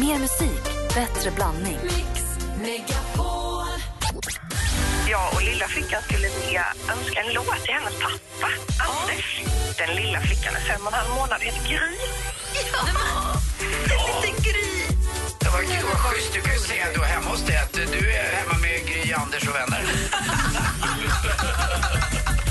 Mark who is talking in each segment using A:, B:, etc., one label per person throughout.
A: Mer musik, bättre blandning.
B: Jag och lilla flickan skulle vilja önska en låt till hennes pappa, Anders. Den lilla flickan är fem och en halv månad, heter Gry.
C: Det var kul, vad schysst. Du kan ju säga då hemma hos dig att du är hemma med Gry, Anders och vänner.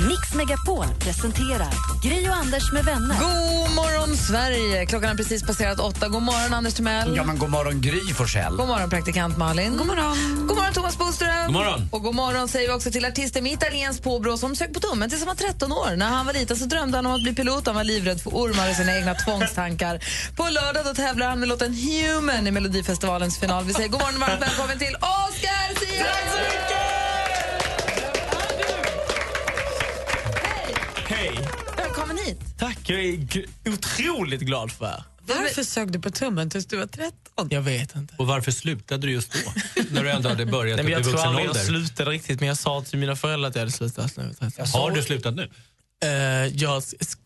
A: Mix Megapol presenterar Gry och Anders med vänner.
D: God morgon, Sverige! Klockan har precis passerat åtta. God morgon, Anders Timell.
C: Ja, men god morgon Gry Forssell.
D: God morgon, praktikant Malin. God morgon, God morgon Thomas Boström.
E: God morgon.
D: Och god morgon säger vi också till artisten med italienskt påbrå som sög på tummen tills han var 13 år. När han var liten så drömde han om att bli pilot. Han var livrädd för ormar och sina egna tvångstankar. På lördag då tävlar han med låten Human i Melodifestivalens final. Vi säger god morgon och varmt välkommen till Oscar Zia!
E: Hej!
D: Välkommen hit!
E: Tack, jag är gl- otroligt glad för er.
F: Varför sög du på tummen tills du var 13?
E: Jag vet inte.
G: Och varför slutade du just då? När du ändå hade
E: Nej,
G: börjat upp
E: men
G: i
E: jag tror
G: vuxen
E: aldrig jag
G: ålder.
E: slutade riktigt, men jag sa till mina föräldrar att jag hade slutat. Nu,
G: Har du slutat nu?
E: Eh, jag sk- sk-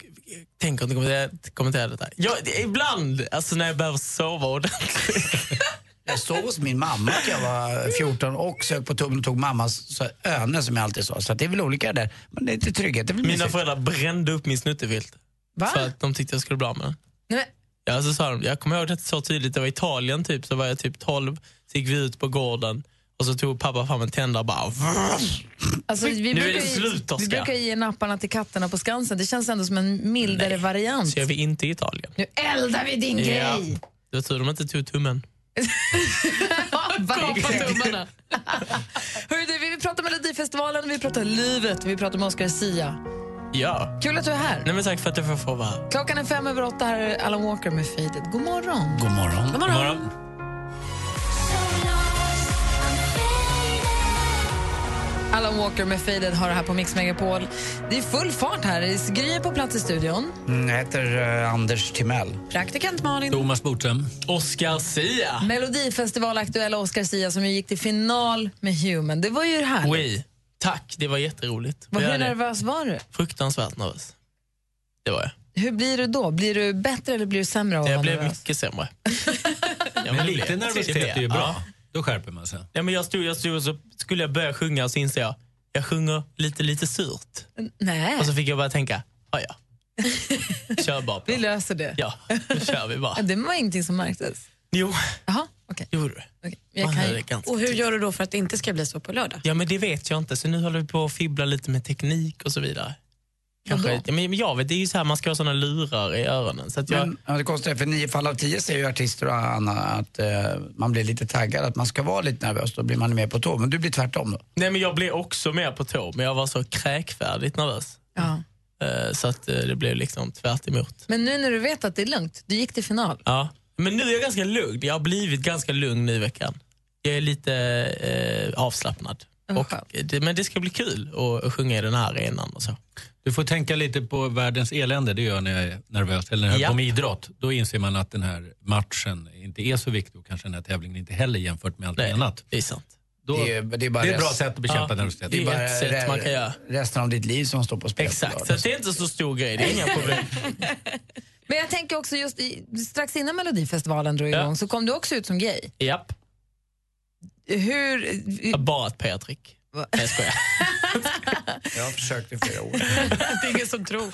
E: tänker inte kommentera, kommentera detta. Jag, ibland, alltså när jag behöver sova ordentligt.
C: Jag sov hos min mamma när jag var 14 och sög på tummen och tog mammas så- öne som jag alltid sa. Så att det är väl olika där. Men det är lite trygghet. Det är väl
E: Mina
C: mysigt.
E: föräldrar brände upp min snuttefilt.
D: Va?
E: För att de tyckte jag skulle bli av med den.
D: Nej, men-
E: Ja, så sa de, jag kommer ihåg det så tydligt, det var Italien typ, så var jag typ 12, så gick vi ut på gården och så tog pappa fram en tändare och bara...
D: Alltså, vi
E: Nu är det
D: brukar ju-
E: slut, Oscar.
D: Vi brukar ju ge napparna till katterna på Skansen. Det känns ändå som en mildare variant.
E: Så gör vi inte i Italien.
D: Nu eldar vi din
E: Ja.
D: grej!
E: Det var tur de inte tog tummen.
D: Kapa tummarna. Hörru, du, vi vill prata Melodifestivalen, vi pratar livet, vi pratar med Oscar Sia.
E: Ja.
D: Kul att du är här.
E: Nej men tack för att jag får få vara här.
D: Klockan är fem över åtta, här är Alan Walker med Faded. God morgon.
C: God morgon.
G: God morgon.
D: Alan Walker med Faded har det här på Mix Megapol. Det är full fart här. Gry är på plats i studion.
C: Mm, Jag heter eh, Anders Timell.
F: Praktikant Malin.
G: Thomas Bodström.
E: Oscar Sia.
D: Melodifestivalaktuella Oscar Sia som ju gick till final med Human. Det var ju härligt.
E: Oui. Tack, det var jätteroligt.
D: Vad-
E: Jag
D: Hur
E: är
D: nervös var du?
E: Fruktansvärt nervös. Det var jag.
D: Hur blir du då? Blir du bättre eller blir du sämre av att
E: Jag
D: vara
E: blev
D: nervös?
E: mycket sämre. Ja,
G: Men
E: det blev
G: lite
E: jag.
G: nervositet är ju
E: Ja.
G: bra. Då skärper man sig.
E: Ja, men jag stod, jag stod och så skulle jag börja sjunga och så insåg jag, jag sjunger lite, lite surt.
D: Nej,
E: Och så fick jag bara tänka, "Ah, ja ja. Kör bara på.
D: vi löser det.
E: Ja, nu kör vi bara.
D: Det var ingenting som märktes.
E: Jo,
D: Jaha, okej.
E: gjorde du.
D: okej. Jag
E: Man
D: kan
E: hör det
D: ju...
E: ganska typ.
F: Och hur gör du då för att det inte ska bli så på lördag?
E: Ja, men det vet jag inte. Så nu håller vi på att fibbla lite med teknik och så vidare. Kanske,
D: Vadå?
E: ja, men jag vet, det är ju så här, man ska ha såna lurar i öronen. Så att jag,
C: Men, ja, det konstiga är, för nio fall av tio säger ju artister och Anna att eh, man blir lite taggad, att man ska vara lite nervös, då blir man mer på tå. Men du blir tvärtom då?
E: nej, men jag blev också med på tå, men jag var så kräkfärdigt nervös.
D: Ja.
E: Eh, Så att eh, det blev liksom tvärt emot.
D: Men nu när du vet att det är lugnt, du gick till final.
E: Ja. Men nu är jag ganska lugn. Jag har blivit ganska lugn nu i veckan. Jag är lite eh, avslappnad.
D: Vad
E: Och,
D: skönt.
E: det, men det ska bli kul att- att sjunga i den här arenan och så.
G: Du får tänka lite på världens elände, det gör jag när jag är nervös. Eller när jag
E: Ja.
G: är på med idrott. Då inser man att den här matchen inte är så viktig och kanske den här tävlingen inte heller jämfört med allt
E: Nej,
G: annat.
E: det är sant.
G: Då,
C: Det är- det är bara
G: det är ett bra
C: rest-
G: sätt att bekämpa
E: Ja.
G: nervositet.
E: Det är
G: Det är bara-
E: ett sätt
C: re-
E: man kan göra.
C: Resten av ditt liv som står på spel.
E: Exakt, så att det är inte så stor grej. Det är inga problem.
D: Men jag tänker också just i, strax innan Melodifestivalen drog igång så kom du också ut som gay.
E: Japp.
D: Hur...
E: Bara ett Patrik. Nej, jag skojar.
C: Jag har försökt i flera år.
F: Det är ingen som tror.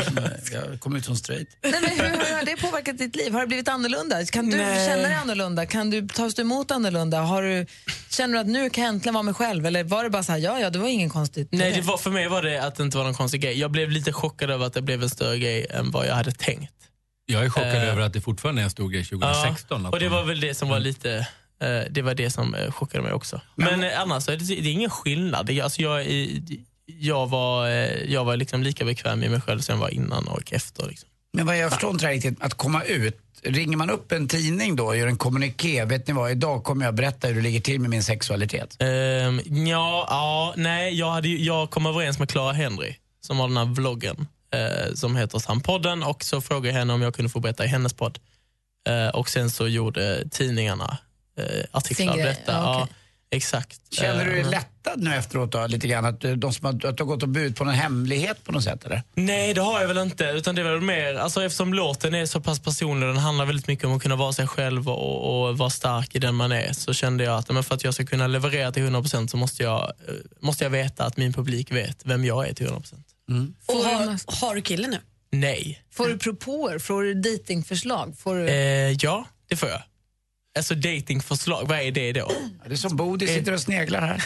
C: Jag kom ut som straight.
D: Nej, men hur har det påverkat ditt liv? Har det blivit annorlunda? Kan du
E: Nej.
D: känna dig annorlunda? Kan du tas du emot annorlunda? Har du, känner du att nu kan jag äntligen vara mig själv? Eller var det bara så här, ja, ja, det var ingen konstigt?
E: Nej, det var, för mig var det att det inte var någon konstig grej. Jag blev lite chockad över att det blev en större grej än vad jag hade tänkt.
G: Jag är chockad
E: Eh.
G: över att det fortfarande är en stor grej 2016.
E: Ja, alltså.
G: att
E: och det
G: de-
E: var väl det som var lite... eh, Det var det som eh, chockade mig också. Men eh, annars så är det, det är ingen skillnad. Det- Alltså jag, är- jag var, eh, jag var liksom lika bekväm i mig själv som jag var innan och efter. Liksom.
C: Men vad jag förstår inte riktigt, att komma ut, ringer man upp en tidning då och gör en kommuniké, vet ni vad, idag kommer jag berätta hur det ligger till med min sexualitet.
E: Um, ja, ja, nej, jag, hade, ju- jag kom överens med Clara Henry som har den här vloggen eh, som heter Sampodden och så frågade jag henne om jag kunde få berätta i hennes podd. Eh, och sen så gjorde tidningarna eh, artiklar
D: Sin
E: om
D: grej,
E: detta.
D: ja, okej.
E: Ja, Exakt.
C: Känner du dig
E: Eh,
C: lättad nu efteråt då, lite grann? Att, eh, de som har, att du har gått och burit på någon hemlighet på något sätt eller?
E: Nej, det har jag väl inte. Utan det är väl mer, alltså eftersom låten är så pass personlig och den handlar väldigt mycket om att kunna vara sig själv och, och vara stark i den man är, så kände jag att men för att jag ska kunna leverera till 100% så måste jag, eh, måste jag veta att min publik vet vem jag är till 100%.
F: Och har, har du kille nu?
E: Nej.
D: Får du propåer? Får du dejtingförslag? Får du...
E: Eh, ja, det får jag. Alltså datingförslag, vad är det då?
C: Ja, Det är som Bodil sitter och sneglar här.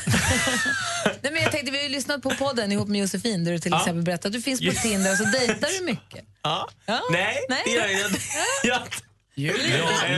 D: Nej, men jag tänkte, vi har ju lyssnat på podden ihop med Josefin där du till
E: Ja.
D: exempel berättade att du finns på
E: Just.
D: Tinder och så dejtar du mycket.
E: Ja.
D: Ja.
E: Nej,
D: Nej.
E: det gör jag inte. Jag- Ja, nej.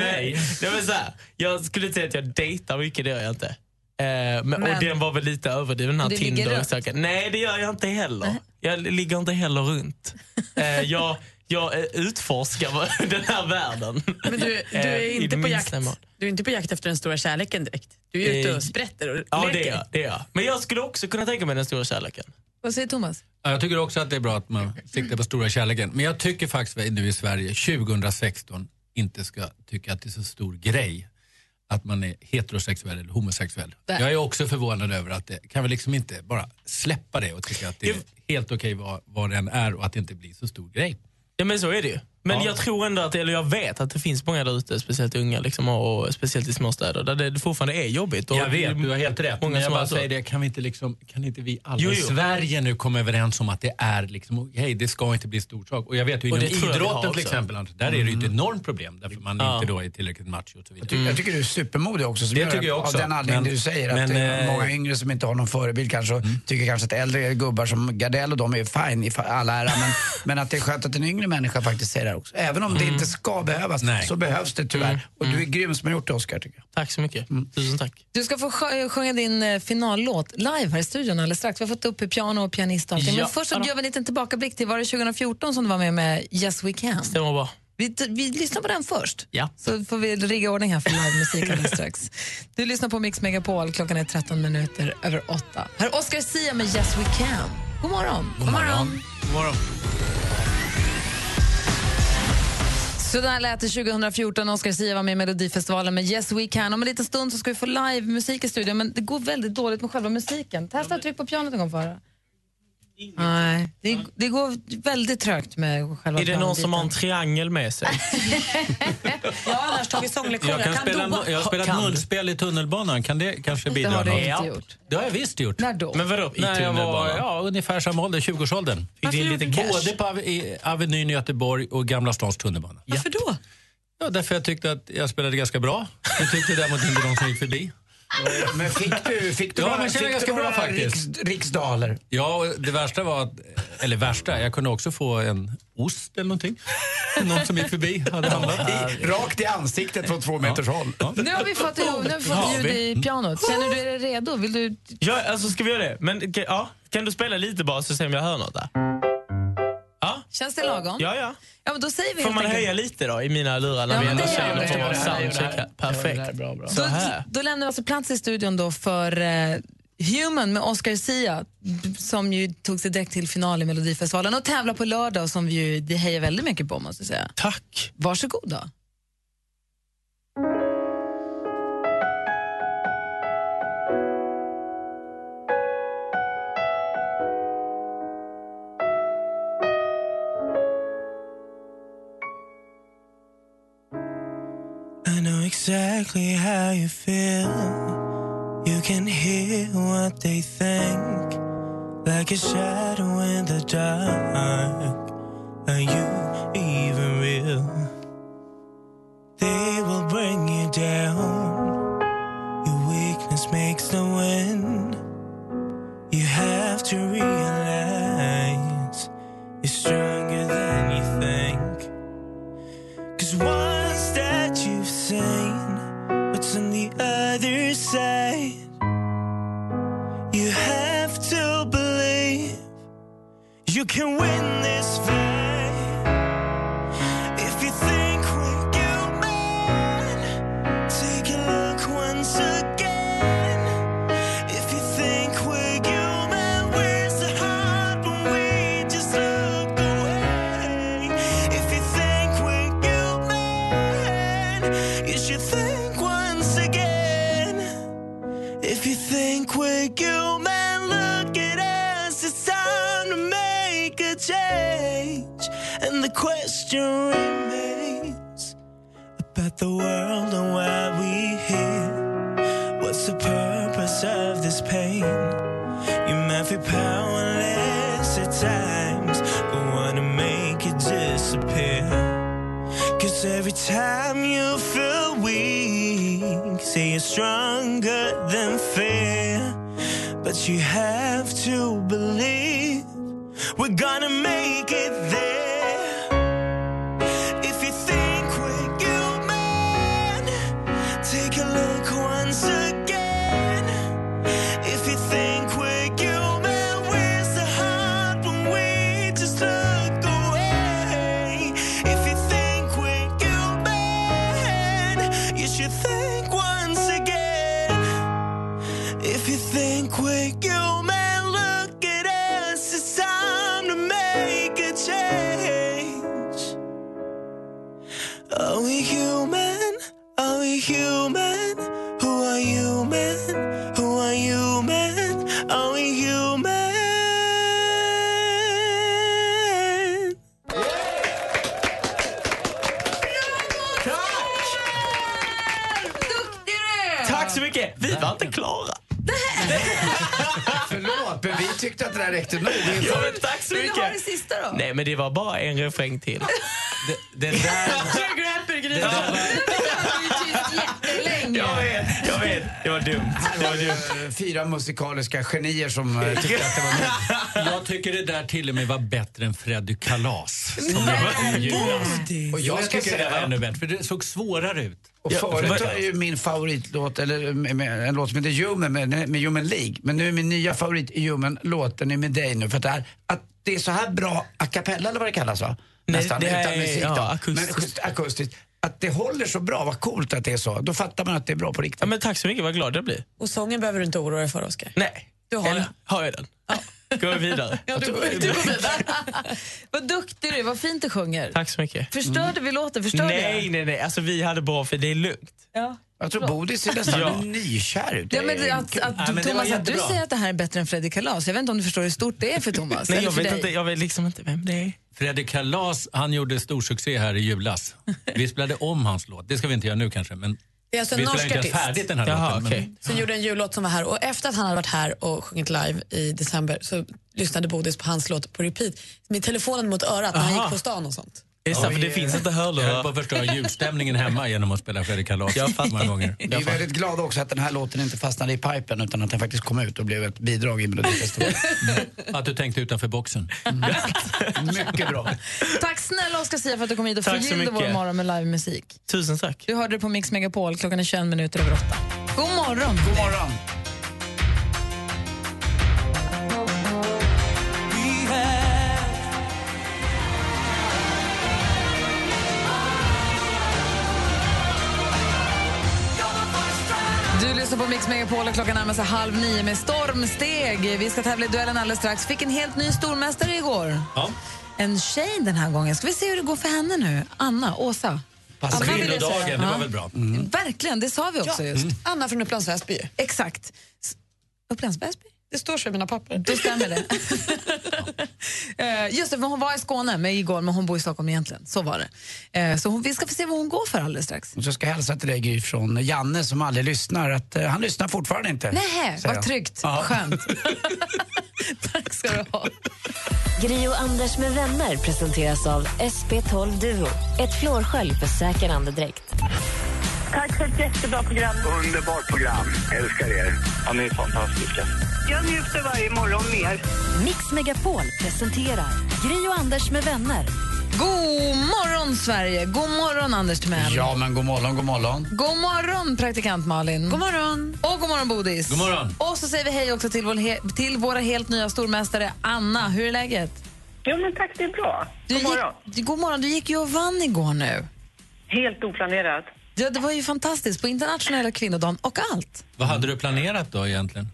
E: Nej, men så här, jag skulle inte säga att jag dejtar mycket, det gör jag inte. Eh, men,
D: Men-
E: Och den var väl lite överdriven, den här
D: Du ligger
E: Tinder.
D: runt.
E: och söker. Nej, det gör jag inte heller. Jag ligger inte heller runt. Eh, jag, jag eh, utforskar vad- den här världen.
F: Men du, du,
E: Eh, i
F: är inte
E: det
F: på jakt,
E: minsta mån.
F: du är inte på jakt efter den stora kärleken direkt. Du är ute
E: Eh,
F: och sprätter och
E: Ja, det
F: leker.
E: är, jag, det är jag. Men jag skulle också kunna tänka mig den stora kärleken.
D: Vad säger Thomas?
G: Ja, Jag tycker också att det är bra att man siktar på stora kärleken. Men jag tycker faktiskt att vi nu i Sverige 2016 inte ska tycka att det är så stor grej att man är heterosexuell eller homosexuell. Jag är också förvånad över att det kan vi liksom inte bara släppa det och tycka att det är helt okej vad, vad den är och att det inte blir så stor grej.
E: Ja men så är det ju. Men jag tror ändå att, eller jag vet att det finns många där ute, speciellt unga liksom, och och speciellt i småstäder, där det fortfarande är jobbigt. Och
G: Jag vet, du har helt rätt.
E: Många
G: Men jag
E: som
G: bara
E: har så.
G: säger det, kan, vi inte liksom, kan inte vi alla
E: Jo,
G: i
E: jo.
G: Sverige nu komma överens om att det är liksom, hej, det ska inte bli stor sak. Och jag vet ju
E: Och
G: inom
E: det tror jag vi har
G: idrotten till
E: också.
G: exempel, Anders, där är det ju ett enormt problem därför man
E: Ja.
G: inte då är tillräckligt macho och så vidare.
C: Ty- Jag tycker du är supermodig också. som
G: Mm. Det
C: gör
G: tycker jag också.
C: Av den anledningen
G: Men-
C: du säger att
G: men,
C: det är
G: eh, Mm.
C: många yngre som inte har någon förebild kanske och tycker kanske att äldre gubbar som Gardell och de är fine i fa- alla ära. Men, men att det är skönt att en yngre människa faktiskt säger det här också. Även om det inte ska behövas
G: Mm. Nej. Mm.
C: så behövs det tyvärr. Och du är grym som har gjort det Oscar tycker jag.
E: Tack så mycket. Tusen tack.
D: Du ska få sj- sjunga din eh, finallåt live här i studion alldeles strax. Vi har fått upp piano och pianist och allting. Men
E: Ja.
D: först så gör vi en liten tillbakablick till var det 2014 som du var med med Yes We Can.
E: Det var bra.
D: Vi, vi lyssnar på den först.
E: Ja.
D: Så får vi rigga ordning här för livemusik alldeles strax. Du lyssnar på Mix Megapol, klockan är 13 minuter över 8. Här är Oscar Sia med Yes We Can. God morgon. God morgon. Så där lät det 2014 när Oscar Sia var med i Melodifestivalen med Yes We Can. Om en liten stund så ska vi få livemusik i studion, men det går väldigt dåligt med själva musiken. Testa att trycka på pianot en gång för Nej, det, det går väldigt trögt med själva
E: Är det någon som har en
D: pianobiten.
E: triangel med sig?
F: Jag har annars tagit sånglektioner.
G: Jag, kan spela,
F: doa.
G: jag har spelat
E: Kan du?
G: munspel i tunnelbanan. Kan det kanske
D: Det
G: bidra?
D: har du
G: något?
D: inte gjort.
G: Det har jag visst gjort.
D: När då?
E: Men vadå, i
G: När jag var
E: tunnelbanan?
G: ja, ungefär samma ålder, 20-årsåldern.
E: Fick du in lite cash?
G: Både på Ave- i Avenyn i Göteborg och Gamla stans tunnelbana.
F: Varför då?
G: Ja, därför jag tyckte att jag spelade ganska bra. Jag tyckte däremot inte de som gick förbi.
C: Men fick du, fick du
G: Ja,
C: några-
G: men jag känner
C: fick
G: ganska
C: du
G: bra
C: några
G: faktiskt.
C: Riks, riksdaler?
G: Ja, och det värsta var att, eller värsta, jag kunde också få en ost eller någonting. Någon som gick förbi hade handlat.
C: Rakt i ansiktet från två meters håll.
D: Nu har vi fått, nu har vi
E: Ja,
D: fått ljud
E: vi-
D: i pianot. Känner du dig redo? Vill du...
E: Ja, alltså ska vi göra det? Men, kan- ja, kan du spela lite bara så ser om jag hör något där? Ja,
D: Känns det lagom?
E: ja. ja.
D: Ja, men då säger vi
E: Får
D: helt
E: man
D: enkelt-
E: höja lite då i mina lurar när
D: Ja,
E: vi
D: men
E: ändå
D: det gör
E: känner
D: vi.
E: på vår
D: Det
C: gör vi.
E: soundcheck? här?
C: Det där
E: Perfekt.
C: är bra, bra.
E: Så
D: Då,
E: här.
D: då lämnar vi alltså plats i studion då för eh, Human med Oscar Sia b- som ju tog sig direkt till final i Melodifestivalen och tävlar på lördag som vi ju det hejar väldigt mycket på måste jag säga.
E: Tack.
D: Varsågod då.
E: I know exactly how you feel. You can hear what they think. Like a shadow in the dark. Are you even real? They will bring you down. Your weakness makes the wind. You have to realize you're stronger than you think. Cause once that you've seen what's on the other side, you have to believe you can win this fight. If you think we're human, take a look once again. If you think we're human, we're so hard, but we just look away. If you think we're human, you should think once again. If
H: If you think we're human, look at us. It's time to make a change. And the question remains about the world and why we here. What's the purpose of this pain? You might feel powerless at times, but wanna make it disappear. Cause every time you feel weak, say you're stronger than fear. But you have to believe we're gonna make it there. If you think we're human, take a look once again. If you think we're human, where's the heart when we just look away? If you think we're human, you should think once again. If you think we're human, look at us. It's time to make a change. Are we human? Are we human? Who are you, man? Who are you, man? Are we human?
D: Duktig du är!
H: Tack så mycket! Vi var inte klara.
C: Förlåt, men vi tyckte att det där räckte nog.
H: Ja, men tack så
D: Vill du ha det
H: mycket!
D: sista då?
E: Nej, men det var bara en refräng till.
G: Det, det där...
E: Det där var,
D: Du är tyst jättelänge.
H: Jag vet, jag vet. Det var dumt. Det var dumt.
C: Eh, Fyra musikaliska genier som eh, tyckte att det var nog.
G: Jag tycker det där till och med var bättre än Freddy Kalas. Som jag,
C: Och jag
G: jag
C: ska
G: tycker det var
C: säga,
G: ännu bättre, för det såg svårare ut.
C: och förut är ju min favoritlåt, eller med- med- en låt som heter Human med, med Human League. Men nu är min nya favorit Human-låt, den är med dig nu. För att det, här, att det är så här bra a cappella eller vad det kallas va?
E: Nej, det här är- ja,
C: då.
E: akustiskt.
C: Men just akustiskt. Att det håller så bra, vad coolt att det är så. Då fattar man att det är bra på riktigt.
E: ja, men tack så mycket, vad glad jag blir.
F: Och sången behöver du inte oroa dig för, Oskar.
E: Nej.
F: Du har
E: Eller,
F: den.
E: har jag den? Går vi vidare?
D: Vad duktig du är, vad fint du sjunger.
E: Tack så mycket.
D: Förstörde vi låten? Förstörde
E: Nej,
D: jag?
E: nej, nej. Alltså, vi hade bra för det är lugnt.
D: Ja.
C: Jag tror Bodis är nästan
E: Ja.
C: nykär ut.
D: Ja, men
C: Det är
D: att,
C: kul.
D: att,
G: men det
D: Thomas,
G: var
D: att du
G: jättebra.
D: säger att det här är bättre än Fredrik Kalas. Jag vet inte om du förstår hur stort det är för Thomas.
E: Nej,
D: eller
E: jag
D: för
E: vet,
D: dig.
E: inte, jag vet liksom inte vem det är.
G: Freddy Kalas, han gjorde stor succé här i julas. Vi spelade om hans låt. Det ska vi inte göra nu kanske, men
F: Det är alltså en
G: vi
F: norsk
G: spelade inte
F: artist
G: färdigt den här
E: Jaha,
G: låten.
E: okej.
G: Men
F: som gjorde en jullåt som var här. Och efter att han hade varit här och sjungit live i december så lyssnade Bodis på hans låt på repeat med telefonen mot örat när han
E: Aha.
F: gick på stan och sånt.
E: Det, är så, här, för det finns inte
G: Jag höll på att
E: hörlurar.
G: förstöra julstämningen hemma genom att spela Freddy Kalas många gånger.
C: Vi är väldigt glada också att den här låten inte fastnade i pipen utan att den faktiskt kom ut och blev ett bidrag i Melodifestivalen.
G: Att du tänkte utanför boxen.
C: Mycket bra.
D: Tack snälla Oscar Sia för att du kom hit och
E: Tack så
D: förgyllde vår
E: mycket.
D: morgon med livemusik.
E: Tusen tack.
D: Du hörde det på Mix Megapol, klockan är 21 minuter över 8. God morgon!
C: God morgon.
D: Du lyssnar på Mix Megapol och klockan närmar sig halv nio med stormsteg. Vi ska tävla i duellen alldeles strax. Fick en helt ny stormästare igår.
G: Ja.
D: En tjej den här gången. Ska vi se hur det går för henne nu? Anna, Åsa.
C: Passar
D: Anna vill jag säga.
G: Kvinnodagen, det
D: Ja.
G: var väl bra?
C: Mm.
D: Verkligen, det sa vi också just.
F: Anna från Upplands Väsby.
D: Exakt. S- Upplands Väsby?
F: Det står så i mina papper.
D: Då stämmer det. Eh, Just det, för hon var i Skåne med igår, men hon bor i Stockholm egentligen. Så var det. Eh, Så hon, vi ska få se vad hon går för alldeles strax.
C: Och så ska jag hälsa till dig Gry från Janne som aldrig lyssnar. Att, eh, han lyssnar fortfarande inte.
D: Nähä,
C: säger
D: vad
C: han.
D: tryggt.
C: Ja.
D: Skönt. Tack ska du ha.
A: Gri och Anders med vänner presenteras av SP12 Duo. Ett flårskölj för säker andedräkt.
B: Tack för ett jättebra program.
I: Underbart program. Älskar er. Ja, ni är fantastiska.
B: Jag njuter varje morgon mer.
A: Mix Megapol presenterar Gri och Anders med vänner.
D: God morgon, Sverige! God morgon, Anders Timell.
C: Ja, men god morgon, god morgon.
D: God morgon, praktikant Malin. God morgon. Och god morgon, Bodis.
G: God morgon.
D: Och så säger vi hej också till, vår he- till våra helt nya stormästare Anna. Hur är läget?
B: Jo, men tack, det är bra.
D: Du
B: God morgon.
D: Gick, god morgon. Du gick ju och vann igår nu.
B: Helt oplanerat.
D: Ja, det var ju fantastiskt på internationella kvinnodagen och allt.
G: Vad hade du planerat då egentligen?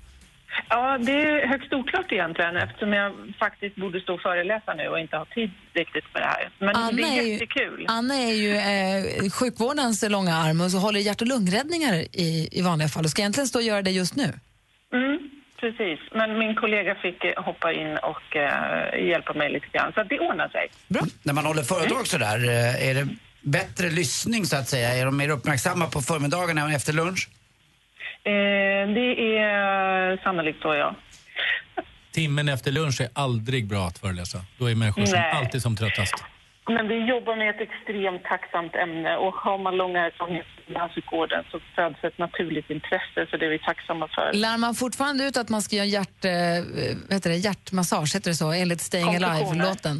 B: Ja, det är högst oklart egentligen eftersom jag faktiskt borde stå och föreläsa nu och inte ha tid riktigt med det här. Men det är jättekul.
D: ju, Anna är ju eh, sjukvårdens långa arm och så håller hjärt och lungräddningar i, i vanliga fall och ska egentligen stå och göra det just nu.
B: Mm, precis. Men min kollega fick eh, hoppa in och eh, hjälpa mig lite grann. Så att det ordnar sig.
C: När man håller föredrag sådär, eh, är det bättre lyssning så att säga? Är de mer uppmärksamma på förmiddagarna och efter lunch?
B: Eh, det är eh, sannolikt så, ja.
G: Timmen efter lunch är aldrig bra att föreläsa. Då är människor som
B: Nej.
G: alltid som tröttast.
B: Men vi jobbar med ett extremt tacksamt ämne och har man lång erfarenhet inom hälsogården så föds ett naturligt intresse, så det är vi tacksamma för.
D: Lär man fortfarande ut att man ska göra en hjärt, eh, vad heter det, hjärtmassage, heter det så, enligt Staying Alive-låten?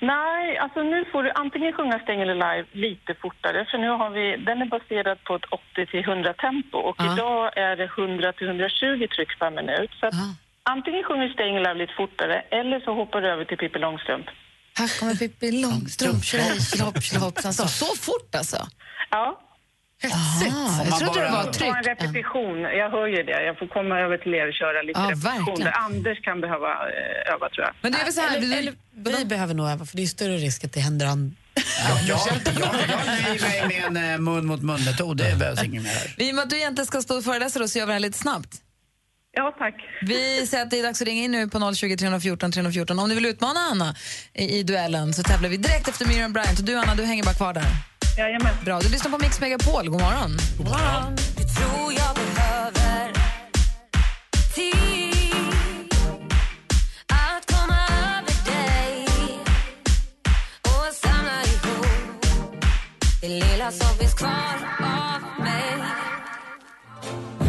B: Nej, alltså nu får du antingen sjunga Stängel Alive lite fortare, för nu har vi, den är baserad på ett 80-100 tempo och
D: Ja.
B: idag är det 100-120 tryck per minut. Så att
D: Ja.
B: antingen sjunger du Stängel Alive lite fortare eller så hoppar du över till Pippi Långstrump.
D: Här kommer Pippi Långstrump, tjolahej, tjolahopp, tjolahoppsan. Så, så fort alltså?
B: Ja,
D: Aha, jag
C: man
D: trodde det
C: bara-
D: var
B: ta en
D: tryckt.
B: repetition. Jag hör ju det. Jag får komma över till er och köra lite
D: Ja,
B: repetition.
D: verkligen.
B: Där Anders kan behöva eh, öva, tror jag.
D: Men det är väl så här,
F: Eller,
D: vi-
F: eller, vi behöver nog öva, för det är större risk att det händer an-
C: Ja, jag, jag, jag nöjer mig med en eh, mun mot mun-metod, det behövs inget mer.
D: i och med att du egentligen ska stå och föreläsa då, så gör vi det här lite snabbt.
B: Ja, tack.
D: Vi säger att det är dags att ringa in nu på 020 314 314. Om ni vill utmana Anna i, i duellen så tävlar vi direkt efter Miriam Bryant. Och du Anna, du hänger bara kvar där.
B: Jajamän.
D: Bra, du lyssnar på Mix Megapol. God morgon.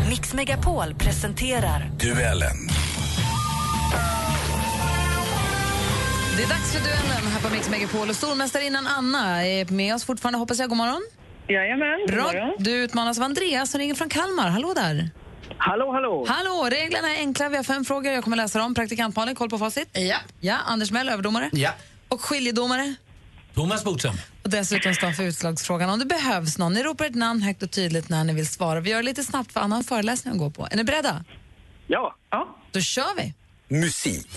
A: Mix Megapol presenterar
I: Duellen.
D: Det är dags för duellen här på Mix Megapol. Och stormästarinnan Anna är med oss fortfarande, hoppas jag. God morgon.
B: Jajamän. God
D: Bra.
B: morgon.
D: Du utmanas av Andreas som ringer från Kalmar. Hallå där.
B: Hallå, hallå.
D: Hallå, reglerna är enkla. Vi har fem frågor. Jag kommer läsa dem. Praktikant Malin, koll på facit. Ja. Ja, Anders Mell, överdomare.
C: Ja.
D: Och skiljedomare.
G: Thomas Bodström.
D: Och dessutom stå för utslagsfrågan om det behövs någon. Ni ropar ett namn högt och tydligt när ni vill svara. Vi gör det lite snabbt för Anna har en föreläsning att gå på. Är ni beredda?
B: Ja. ja.
D: Då kör vi!
I: Musik.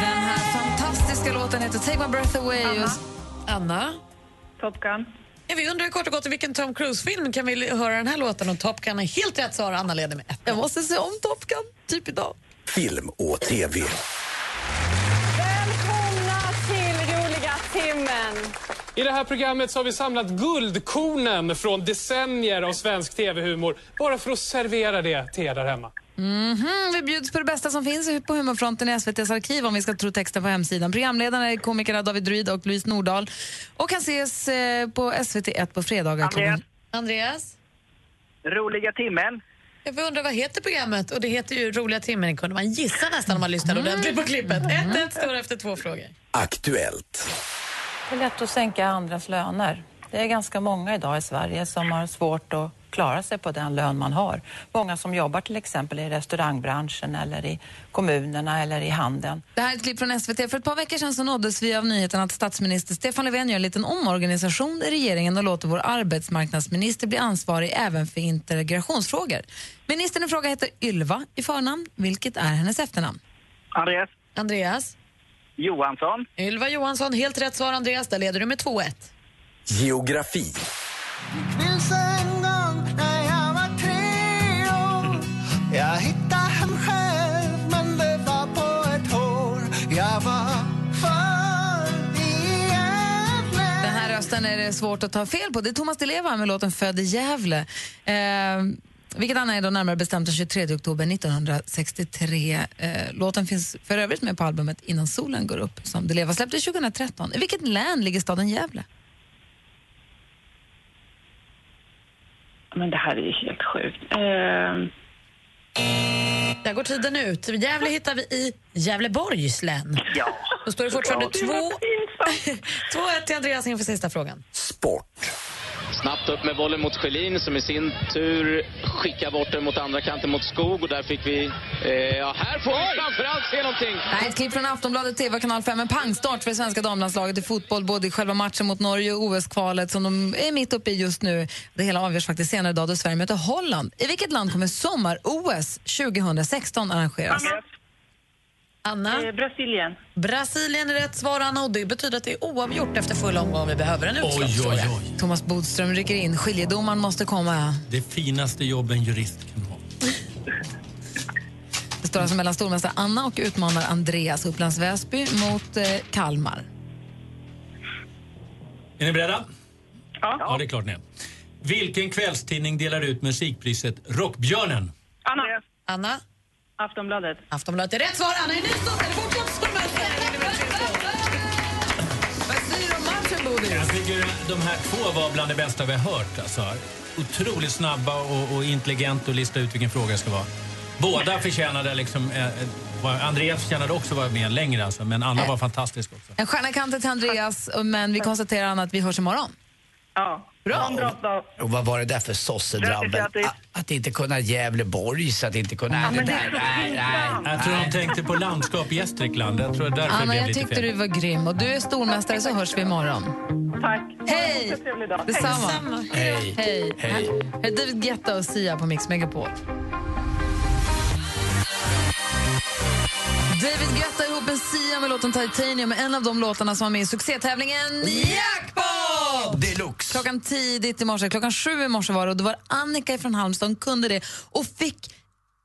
D: Den här fantastiska låten heter Take My Breath Away. Och
F: Anna,
B: Top Gun.
F: ja, vi undrar kort och gott i vilken Tom Cruise-film kan vi l- höra den här låten och Top Gun är helt rätt svar. Anna leder med ett.
D: jag måste se om Top Gun, typ idag.
I: Film och tv.
J: Välkomna till roliga timmen.
K: I det här programmet så har vi samlat guldkornen från decennier av svensk tv-humor bara för att servera det till er där hemma.
D: Mm, vi bjuds på det bästa som finns på humorfronten i SVTs arkiv om vi ska tro texten på hemsidan. Programledarna är komikerna David Druid och Louise Nordahl och kan ses eh, på SVT1 på fredagar. klockan-
F: Andreas,
B: Roliga timmen.
F: jag får undra vad heter programmet? Och det heter ju Roliga timmen. kunde man gissa nästan om man lyssnade ordentligt på klippet. 1-1 står efter två frågor.
I: Aktuellt.
L: Det är lätt att sänka andras löner. Det är ganska många idag i Sverige som har svårt att klara sig på den lön man har. Många som jobbar till exempel i restaurangbranschen eller i kommunerna eller i handeln.
D: Det här är ett klipp från SVT. För ett par veckor sedan så nåddes vi av nyheten att statsminister Stefan Löfven gör en liten omorganisation i regeringen och låter vår arbetsmarknadsminister bli ansvarig även för integrationsfrågor. Ministern i fråga heter Ylva i förnamn, vilket är hennes efternamn.
B: Andreas
F: Andreas,
B: Johansson.
F: Ylva Johansson, helt rätt svar. Andreas, där leder du med 2-1.
I: Geografi.
H: Minns en gång när jag var tre år Jag hittade hem själv men det var på ett hår Jag var för i Gävle
D: Den här rösten är det svårt att ta fel på. Det är Thomas Di Leva med låten Född i Gävle. Eh, vilket han är då närmare bestämt den 23 oktober 1963. Eh, låten finns för övrigt med på albumet Innan solen går upp som Di Leva släppte 2013. I vilket län ligger staden Gävle?
B: Men det här är ju helt sjukt. Eh,
F: Där går tiden ut. Gävle hittar vi i Gävleborgs län.
B: ja.
F: Då står det fortfarande 2-1 två... till Andreas inför sista frågan.
I: Sport.
K: Snabbt upp med bollen mot Schelin som i sin tur skickar bort den mot andra kanten mot Skog och där fick vi... eh, ja, här får vi framförallt se någonting.
D: Det här är ett klipp från Aftonbladet TV och kanal 5. En pangstart för det svenska damlandslaget i fotboll både i själva matchen mot Norge och OS-kvalet som de är mitt uppe i just nu. Det hela avgörs faktiskt senare idag då Sverige möter Holland. I vilket land kommer sommar-OS 2016 arrangeras?
F: Anna?
B: eh,
M: Brasilien.
F: Brasilien är rätt svar, Anna, och det betyder att det är oavgjort efter full omgång. Vi behöver en utslagsfråga.
D: Thomas Bodström rycker in. Skiljedomaren måste komma.
G: Det finaste jobb en jurist kan ha.
D: Det står alltså mellan stormästare Anna och utmanar Andreas Upplands Väsby mot eh, Kalmar.
G: Är ni beredda? Ja. Ja, det är klart ni är. Vilken kvällstidning delar ut musikpriset Rockbjörnen?
M: Anna.
F: Anna.
M: Aftonbladet.
F: Aftonbladet är rätt svar. Anna är nästa och fortsatt
G: Jag tycker de här två var bland det bästa vi har hört. Alltså. Otroligt snabba och, och intelligent att lista ut vilken fråga det ska vara. Båda förtjänade liksom... Eh, eh, vad- Andreas förtjänade också vara med längre, alltså, men Anna var fantastisk också.
D: En stjärna i kanten till Andreas, men vi konstaterar Anna, att vi hörs imorgon.
M: Ja.
D: Bra.
C: Och vad var det där för sossedrabbel? Att, att inte kunna Gävleborg, så att inte kunna... Nej,
D: Ja, men
C: det
D: det är
C: där, nej,
D: så
C: nej,
G: Jag tror de tänkte på landskap i Gästrikland. Jag tror det därför
D: Anna,
G: blev
D: jag
G: lite
D: tyckte
G: fel.
D: du var grym och du är stormästare så hörs vi imorgon.
M: Tack.
D: Hej! Detsamma.
C: Hej.
D: Hej. Här är David Guetta och Sia på Mix Megapol. David Guetta ihop med Sia med låten Titanium, en av de låtarna som var med i succétävlingen Jackpot!
C: Deluxe!
D: Klockan tidigt i morse, klockan sju i morse var det och då var Annika från Halmstad, hon kunde det och fick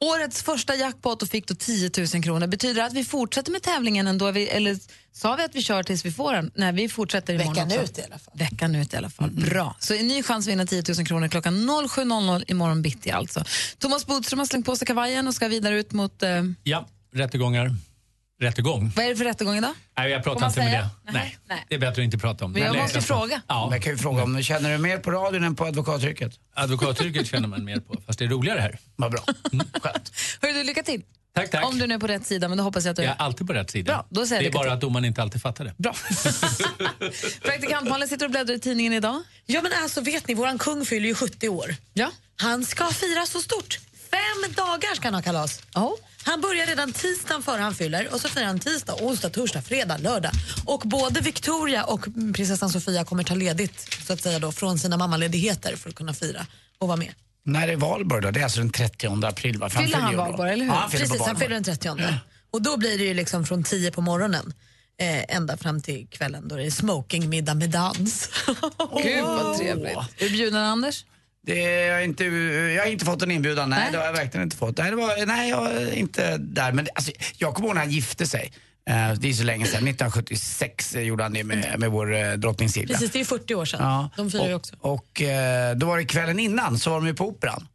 D: årets första jackpot och fick då 10 000 kronor. Betyder det att vi fortsätter med tävlingen ändå? Vi, eller sa vi att vi kör tills vi får den? Nej, vi fortsätter imorgon
F: Veckan
D: också.
F: ut i alla fall. Mm.
D: Veckan ut i alla fall. Bra. Så en ny chans att vinna 10 000 kronor klockan 07.00 imorgon bitti alltså. Thomas Bodström har slängt på sig kavajen och ska vidare ut mot... Eh,
G: Ja, rättegångar. Rättegång?
D: vad är det för rättegång idag?
G: Nej, jag
D: Får
G: pratar
D: man
G: inte med
D: säga?
G: det. Nej. Det är bättre att inte prata om.
D: Men jag
G: Nej,
D: måste
G: läs det.
D: fråga.
G: Ja.
C: Jag kan ju fråga om, känner du mer på radion än på advokatyrket?
G: Advokatyrket känner man mer på, fast det är roligare här. Mm,
C: Vad bra.
I: Mm.
D: Hörru, du, lycka till.
G: Tack, tack.
D: Om du nu är på rätt sida, men då hoppas jag att du
G: Jag är alltid på rätt sida.
D: Bra, då säger
G: det
D: jag
G: är
D: lycka
G: bara att domaren inte alltid fattar det.
D: Bra. Praktikant Malin sitter och bläddrar i tidningen idag.
F: Ja, men alltså vet ni, våran kung fyller ju 70 år.
D: Ja.
F: Han ska fira så stort. Fem dagar ska han ha kalas. Han börjar redan tisdagen före han fyller och så firar han tisdag, onsdag, torsdag, fredag, lördag. Och både Victoria och prinsessan Sofia kommer ta ledigt så att säga då, från sina mammaledigheter för att kunna fira och vara med.
C: När är valborg då? Det är alltså den 30 april, va? För
F: Fyller han
C: ju då.
F: valborg, eller hur?
C: Ja, han fyller
F: Precis,
C: på
F: han
C: valborg.
F: fyller den 30. Och då blir det ju liksom från 10 på morgonen eh, ända fram till kvällen då det är smokingmiddag med dans.
D: Gud vad trevligt. Är du bjuden Anders?
C: Det är jag, inte, jag har inte fått en inbjudan, nej, det har jag verkligen inte fått. Nej, det var, nej jag är inte där. Men alltså, jag kommer ihåg när han gifte sig. Eh, Det är så länge sedan, 1976 gjorde han det med, med vår eh, drottning Silvia.
F: Precis, det är 40 år sedan.
C: Ja.
F: De firar ju också.
C: Och eh, då var det kvällen innan så var de ju på operan.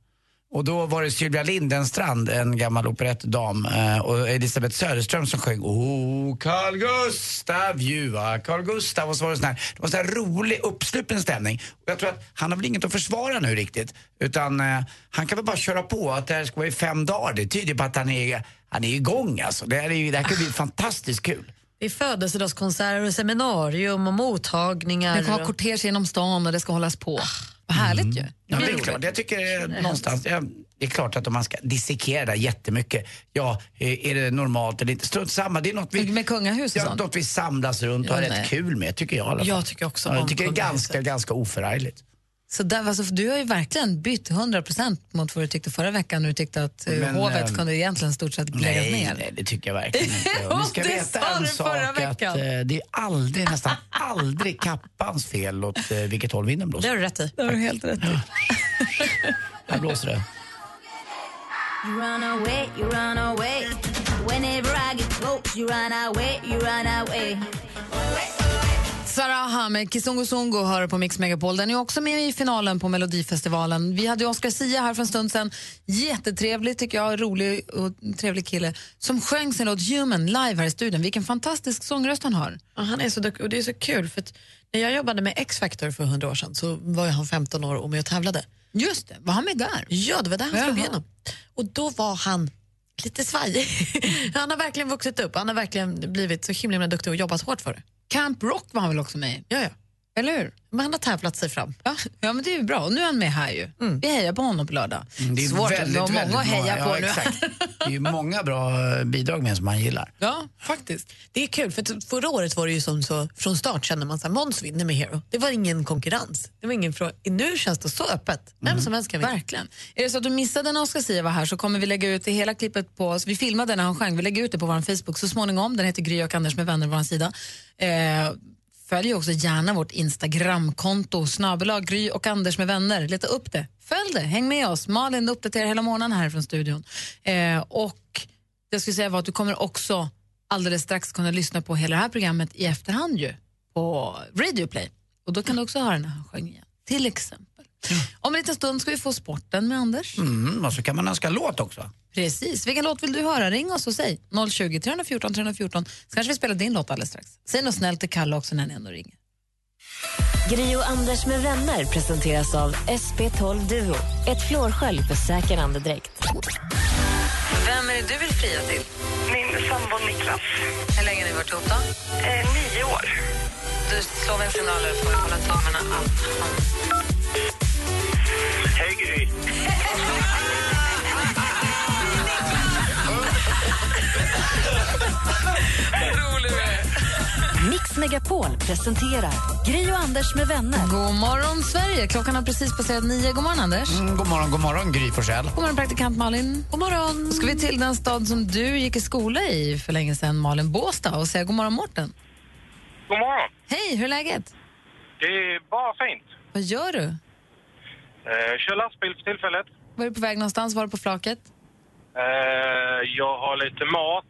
C: Och då var det Sylvia Lindenstrand, en gammal operettdam, eh, och Elisabeth Söderström som sjöng O Carl Gustav, ljua Carl Gustav. Och så var det sån här, det var sån här rolig, uppsluppen stämning. Och jag tror att han har väl inget att försvara nu riktigt. Utan eh, han kan väl bara köra på att det här ska vara i fem dagar. Det tyder på att han är, han är igång alltså. Det här, är, ju- det här kan bli fantastiskt kul.
F: Det är födelsedagskonserter och seminarium och mottagningar.
D: Det kommer vara kortege genom stan och det ska hållas på.
F: Ah,
D: Vad härligt ju.
F: Mm.
C: Ja, men det är klart. Jag tycker eh, någonstans, ja, det är klart att om man ska dissekera det här jättemycket, ja, eh, är det normalt eller inte? Strunt samma, det är något vi...
D: Med kungahus och
C: Ja,
D: sånt.
C: något vi samlas runt och har
D: Ja, nej.
C: rätt kul med, tycker jag i alla fall.
F: Jag tycker också
C: ja,
F: om
C: Jag tycker det är
F: kungahuset.
C: ganska, ganska oförargligt.
D: Så där, alltså, för du har ju verkligen bytt 100% mot vad du tyckte förra veckan när du tyckte att eh,
C: Men,
D: hovet
C: ehm,
D: kunde egentligen stort sett läggas
C: Nej,
D: ner.
C: nej, det tycker jag verkligen inte. Och ni ska
D: Det sa
C: veta en
D: du
C: sak
D: förra
C: att eh,
D: veckan.
C: det är aldrig, nästan aldrig kappans fel åt eh, vilket håll vinden
F: Det
C: blåser.
F: har du rätt i.
D: Det har du helt rätt i.
C: Här blåser det.
N: You run away, you run away. Whenever I get close, you run away, you run away.
D: Saraha med Kizungu Zungu hör på Mix Megapol. Den är också med i finalen på Melodifestivalen. Vi hade ju Oscar Sia här för en stund sedan. Jättetrevlig tycker jag, rolig och trevlig kille som sjöng sin låt Human live här i studion. Vilken fantastisk sångröst han har.
F: Ja, han är så duktig och det är så kul för att när jag jobbade med X-Factor för 100 år sedan så var ju han 15 år och med och tävlade.
D: Just det, var han med där?
F: Ja, det var där han
D: Jaha.
F: slog igenom. Och då var han lite svajig. han har verkligen vuxit upp. Han har verkligen blivit så himla, himla duktig och jobbat hårt för det.
D: Camp Rock var han väl också med i?
F: Ja, ja.
D: Eller hur? Men han har tävlat sig fram. Ja, ja men det är ju bra. Och Nu är han med här ju. Vi hejar på honom på lördag.
C: Mm, det är
D: Svårt
C: väldigt,
D: att
C: väldigt
D: många att
C: många.
D: heja på
C: Ja,
D: nu.
C: exakt. Det är ju många bra eh, bidrag med som man gillar.
D: Ja, faktiskt.
F: Det är kul, för att förra året var det ju som så, från start kände man att Måns vinner med Hero. Det var ingen konkurrens. Det var ingen fråga. Nu känns det så öppet. Vem som helst kan vinna.
D: Verkligen. Är det så att du missade när Oscar Sia var här så kommer vi lägga ut det hela klippet på oss. Vi filmade när han sjöng. Vi lägger ut det på vår Facebook så småningom. Den heter Gry och Anders med vänner, vår sida. Eh, följ också gärna vårt Instagramkonto, snabel-a Gry och Anders med vänner. Leta upp det. Följ det, häng med oss. Malin uppdaterar hela morgonen här från studion. Eh, och det jag skulle säga var att du kommer också alldeles strax kunna lyssna på hela det här programmet i efterhand ju på Radio Play. Och då kan du också höra när han sjöng igen, till exempel. Om en liten stund ska vi få sporten med Anders.
C: Mm, och så kan man önska låt också.
D: Precis. Vilken låt vill du höra? Ring oss och säg 020 314 314. Så kanske vi spelar din låt alldeles strax. Säg något snällt till Kalle också när ni ändå ringer.
A: Gri och Anders med vänner presenteras av SP12 Duo. Ett flårskölj för säker andedräkt.
D: Vem är det du vill fria till?
B: Min sambo Niklas.
D: Hur länge har ni varit ihop då?
B: Eh, nio år.
D: Du slår väl signaler för att hålla tummarna att
I: Hej Gry!
A: Mix Megapol presenterar Gri och Anders med vänner.
D: God morgon, Sverige! Klockan har precis passerat nio. God morgon, Anders.
C: Mm, god morgon, god morgon Gry Forssell.
D: God morgon, praktikant Malin. God morgon. Då ska vi till den stad som du gick i skola i för länge sedan, Malin Båstad, och säga god morgon, Mårten.
O: God morgon.
D: Hej, hur är läget?
O: Det är bara fint.
D: Vad gör du?
O: Eh, kör lastbil för tillfället.
D: Var är du på väg någonstans? Var är du på flaket?
O: Eh, jag har lite mat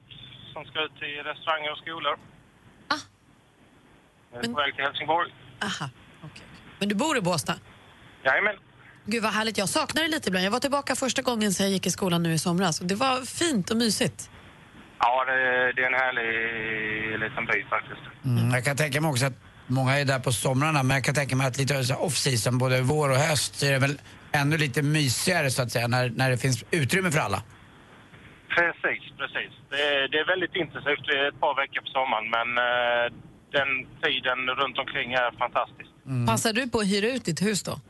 O: som ska ut till restauranger och skolor. Jag är på väg till Helsingborg.
F: Aha, okay. Men du bor i Båstad?
O: Jajamän.
F: Gud vad härligt, jag saknar det lite ibland. Jag var tillbaka första gången sen jag gick i skolan nu i somras och det var fint och mysigt.
O: Ja, det, det är en härlig liten by faktiskt.
C: Mm, jag kan tänka mig också att många är där på somrarna, men jag kan tänka mig att lite så här off-season, både vår och höst, så är det väl ännu lite mysigare så att säga, när, när det finns utrymme för alla.
O: Precis, precis. Det, är- det är väldigt intensivt. Det är ett par veckor på sommaren, men eh, den tiden runt omkring är fantastisk.
C: Mm.
D: Passar du på att hyra ut ditt hus då?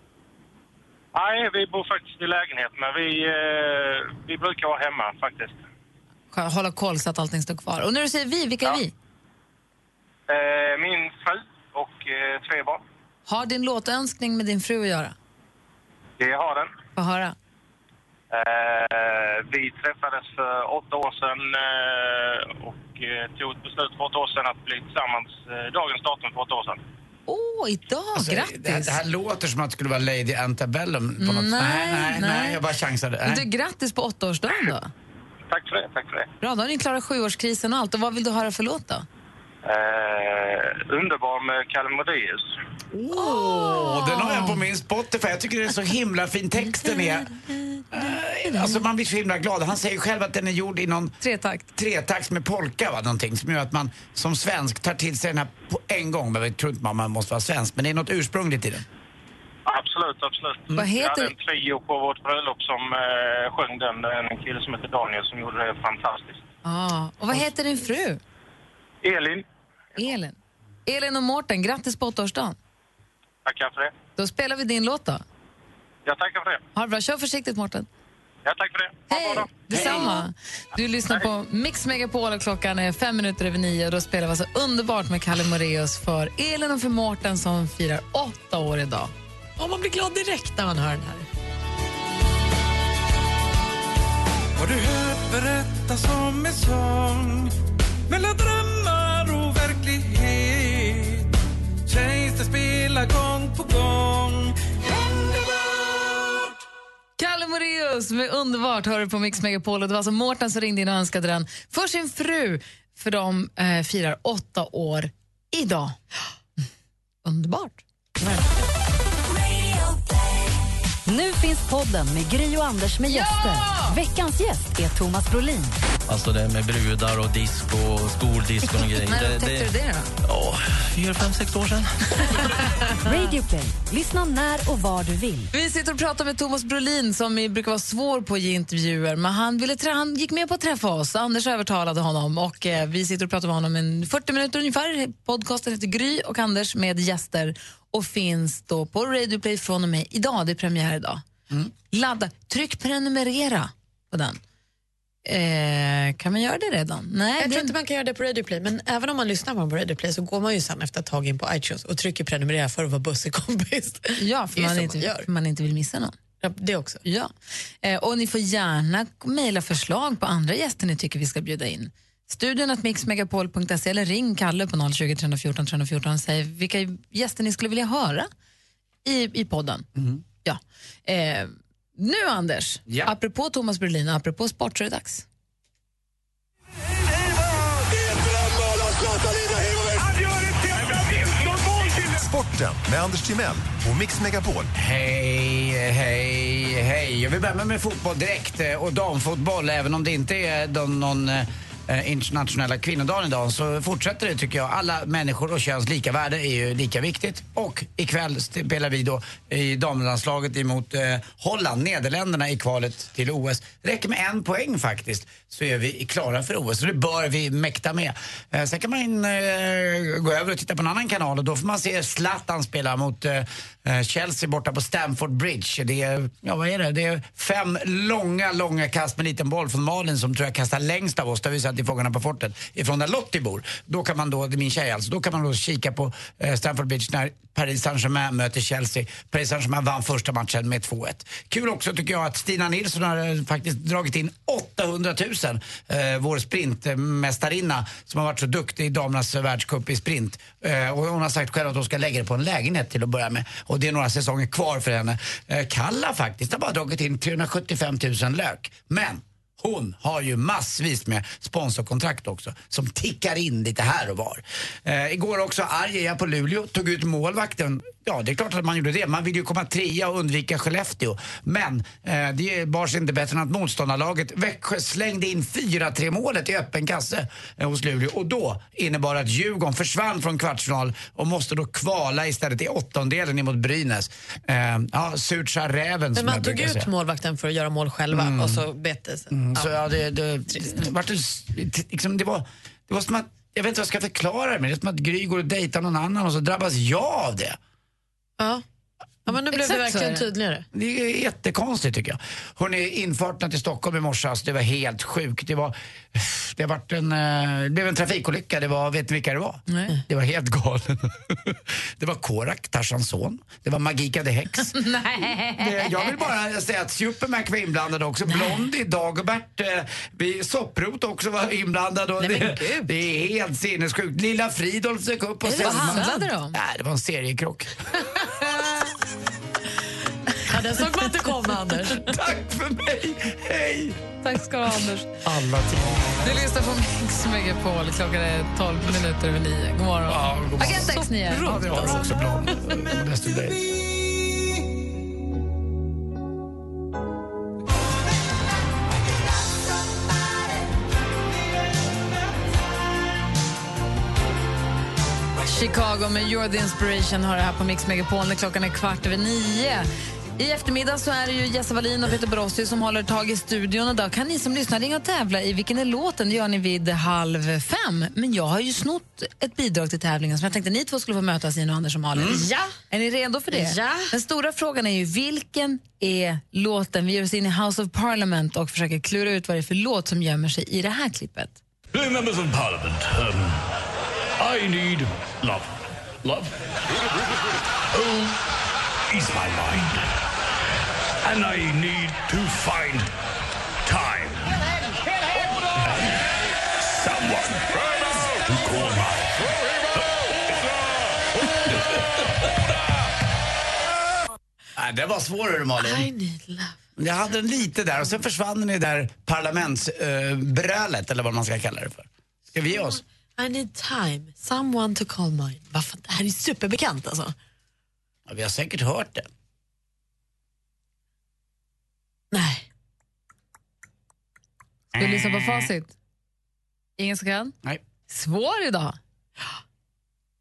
O: Nej, vi bor faktiskt i lägenhet, men vi, eh, vi brukar vara hemma faktiskt.
D: Skönt, Hålla koll så att allting står kvar. Och när du säger vi, vilka är vi?
O: Eh, min fru och eh, tre barn.
D: Har din låtönskning med din fru att göra?
O: Det har den.
D: Få höra.
O: Eh, vi träffades för åtta år sedan eh, och eh, tog ett beslut för åtta år sedan att bli tillsammans eh, dagens datum för åtta år sedan.
D: Åh, idag! grattis!
C: Alltså, Det här, det här låter som att det skulle vara Lady Antebellum på något
D: Nej,
C: nej, nej,
D: nej.
C: nej, jag bara chansade.
D: Men Du,
C: Nej.
D: grattis på åttaårsdagen då.
O: Tack för det, tack för det.
D: Bra, då har ni klarat sjuårskrisen och allt. Och vad vill du höra för låt då?
O: Eh, underbar med Kalle Moraeus.
C: Åh, den har jag på min Spotify. Jag tycker den är så himla fin. Texten är... Eh, Alltså man blir så himla glad. Han säger själv att den är gjord i någon...
D: Tretakt.
C: Tretakt med polka va, någonting som gör att man som svensk tar till sig den här på en gång. Men jag tror inte man- man måste vara svensk, men det är något ursprungligt i den.
O: Absolut, absolut.
D: Vad heter-
O: Vi hade en trio på vårt bröllop som eh, sjöng den. En kille som heter Daniel som gjorde det fantastiskt.
D: Ah, och vad heter din fru?
O: Elin,
D: Elin. Elin och Mårten, grattis på åttaårsdagen.
O: tackar för det.
D: Då spelar vi din låt då.
O: Jag tackar för det.
D: Ha det bra. Kör försiktigt, Mårten.
O: Ja, tack för det.
D: Hej! Detsamma. Du lyssnar på Mix Megapol och klockan är fem minuter över nio. Och då spelar vi alltså underbart med Kalle Moreus för Elin och för Mårten som firar åtta år idag.
F: Och man blir glad direkt när man hör den här.
H: Har du hört berättas om en sång mellan drömmar och verklighet? Känns det spela gång på gång Underbart
D: Kalle Moreus med Underbart hör du på Mix Megapol. Och det var alltså Mårten som ringde in och önskade den för sin fru för de eh, firar åtta år idag. Underbart.
A: Nu finns podden med Gri och Anders med gäster. Veckans gäst är Thomas Brolin.
P: Alltså det med brudar och disco, och skoldisco och grejer.
D: När upptäckte du det då?
P: Ja, fyra, fem, sex år sedan.
A: Radio Play. Lyssna när och var du vill.
D: Vi sitter och pratar med Thomas Brolin som ju brukar vara svår på att ge intervjuer men han, ville trä- han gick med på att träffa oss. Anders övertalade honom och eh, vi sitter och pratar med honom i 40 minuter ungefär. Podcasten heter Gry och Anders med gäster och finns då på Radio Play från och med idag. Det är premiär idag.
F: Mm.
D: Ladda, tryck prenumerera på den. Eh, kan man göra det redan? Nej,
F: jag tror inte man kan göra det på Radio Play, men även om man lyssnar på, den på Radio Play så går man ju sen efter ett tag in på iTunes och trycker prenumerera för att vara bussig kompis.
D: Ja, för
F: Det är
D: man,
F: så
D: inte,
F: man gör.
D: för man inte vill missa någon.
F: det också.
D: Ja. Eh, och ni får gärna mejla förslag på andra gäster ni tycker vi ska bjuda in. Studion att mixmegapol.se eller ring Kalle på 020 314 314 och säg vilka gäster ni skulle vilja höra i, i podden.
C: Mm.
D: Ja. Eh, nu Anders, apropå Thomas Brolin och apropå sport så är det dags.
Q: Sporten med Anders Timell och Mix Megapol.
C: Hej, hej, hej. Jag vill börja med fotboll direkt eh, och damfotboll. Även om det inte är de, någon eh, internationella kvinnodagen idag så fortsätter det tycker jag. Alla människor och köns lika värde är ju lika viktigt. Och ikväll spelar vi då i damlandslaget emot eh, Holland, Nederländerna i kvalet till OS. Det räcker med en poäng faktiskt så är vi klara för OS. Så det bör vi mäkta med. Eh, sen kan man in, eh, gå över och titta på en annan kanal och då får man se Zlatan spela mot eh, eh, Chelsea borta på Stamford Bridge. Det är, ja, vad är det? det är fem långa, långa kast med liten boll från Malin som tror jag kastar längst av oss. Det har vi sett i Fångarna på fortet. Ifrån där Lottie bor. Då kan man då, det är min tjej alltså, då kan man då kika på eh, Stamford Bridge när Paris Saint-Germain möter Chelsea. Paris Saint-Germain vann första matchen med 2-1. Kul också tycker jag att Stina Nilsson har eh, faktiskt dragit in 800 000. Eh, vår sprintmästarinna som har varit så duktig i damernas eh, världscup i sprint. Eh, och hon har sagt själv att hon ska lägga det på en lägenhet till att börja med. Och det är några säsonger kvar för henne. Eh, Kalla faktiskt har bara dragit in 375 000 lök. Men hon har ju massvis med sponsorkontrakt också som tickar in lite här och var. Eh, igår också arg är jag på Luleå, tog ut målvakten. Ja, det är klart att man gjorde det. Man vill ju komma trea och undvika Skellefteå. Men eh, det bars inte bättre än att motståndarlaget Växjö slängde in 4-3 målet i öppen kasse eh, hos Luleå. Och då innebar det att Djurgården försvann från kvartsfinal och måste då kvala istället i åttondelen emot Brynäs. Eh, ja, surt sa räven som
F: Men man
C: jag
F: tog
C: brukar
F: ut
C: säga.
F: målvakten för att göra mål själva
C: Mm.
F: och så bet det sig.
C: Mm, Så ja, det, det, det, vart det, s- det- liksom, det, var, det var som att, jag vet inte vad jag ska förklara det med. Det är som att Gry går och dejtar någon annan och så drabbas jag av det.
F: Ja. ja, men nu blev
C: Exakt så
F: det
C: är
F: verkligen
C: det.
F: tydligare.
C: Det är jättekonstigt tycker jag. Hörrni, infarten till Stockholm i morse, alltså, det var helt sjukt. Det, var, det, vart en, eh, det blev en trafikolycka, det var, vet ni vilka det var?
D: Nej.
C: Det var helt galet. det var Korak, Tarzans son. Det var Magika the Hex. Det, jag vill bara säga att Supermac var inblandad också. Blondie, Dagobert, eh, vi- Sopprot också var inblandad. Och det, det är helt sinnessjukt. Lilla Fridolf dök upp. Och
D: Är det- vad
C: Selma.
D: handlade det om?
C: Nej, det var en seriekrock.
F: Ja, den såg man inte komma, Anders.
C: Tack för mig! Hej!
D: Tack ska du ha, Anders.
C: Alla tider.
D: Du lyssnar på Mix Megapol. Klockan är 12 minuter över 9. God morgon.
C: Ja, god morgon.
D: Agent X9.
C: Ja, det har vi också Blondie. Och Bäst i dig.
D: Chicago med You're the Inspiration har det här på Mix Megapol när klockan är kvart över nio. I eftermiddag så är det ju Jesse Wallin och Peter Borossi som håller tag i studion. Och då kan ni som lyssnar ringa och tävla i Vilken är låten? Det gör ni vid halv fem. Men jag har ju snott ett bidrag till tävlingen som jag tänkte ni två skulle få mötas i nu, Anders och Malin.
F: Mm. Ja.
D: Är ni redo för det?
F: Ja.
D: Den stora frågan är ju vilken är låten? Vi ger oss in i House of Parliament och försöker klura ut vad det är för låt som gömmer sig i det här klippet.
R: Dear members of Parliament, um, I need love. Love? Who is my mind? And I need to find time. Someone to call my.
C: Nej, det var svår hörru Malin. I
F: need love.
C: Jag hade den lite där och sen försvann den i det där parlamentsbrölet eller vad man ska kalla det för. Ska vi ge oss?
F: I need time, someone to call mine. Vad fan, det här är ju superbekant alltså.
C: Ja, vi har säkert hört det.
D: Ska vi lyssna på facit? Ingen som kan?
C: Nej.
D: Svår idag.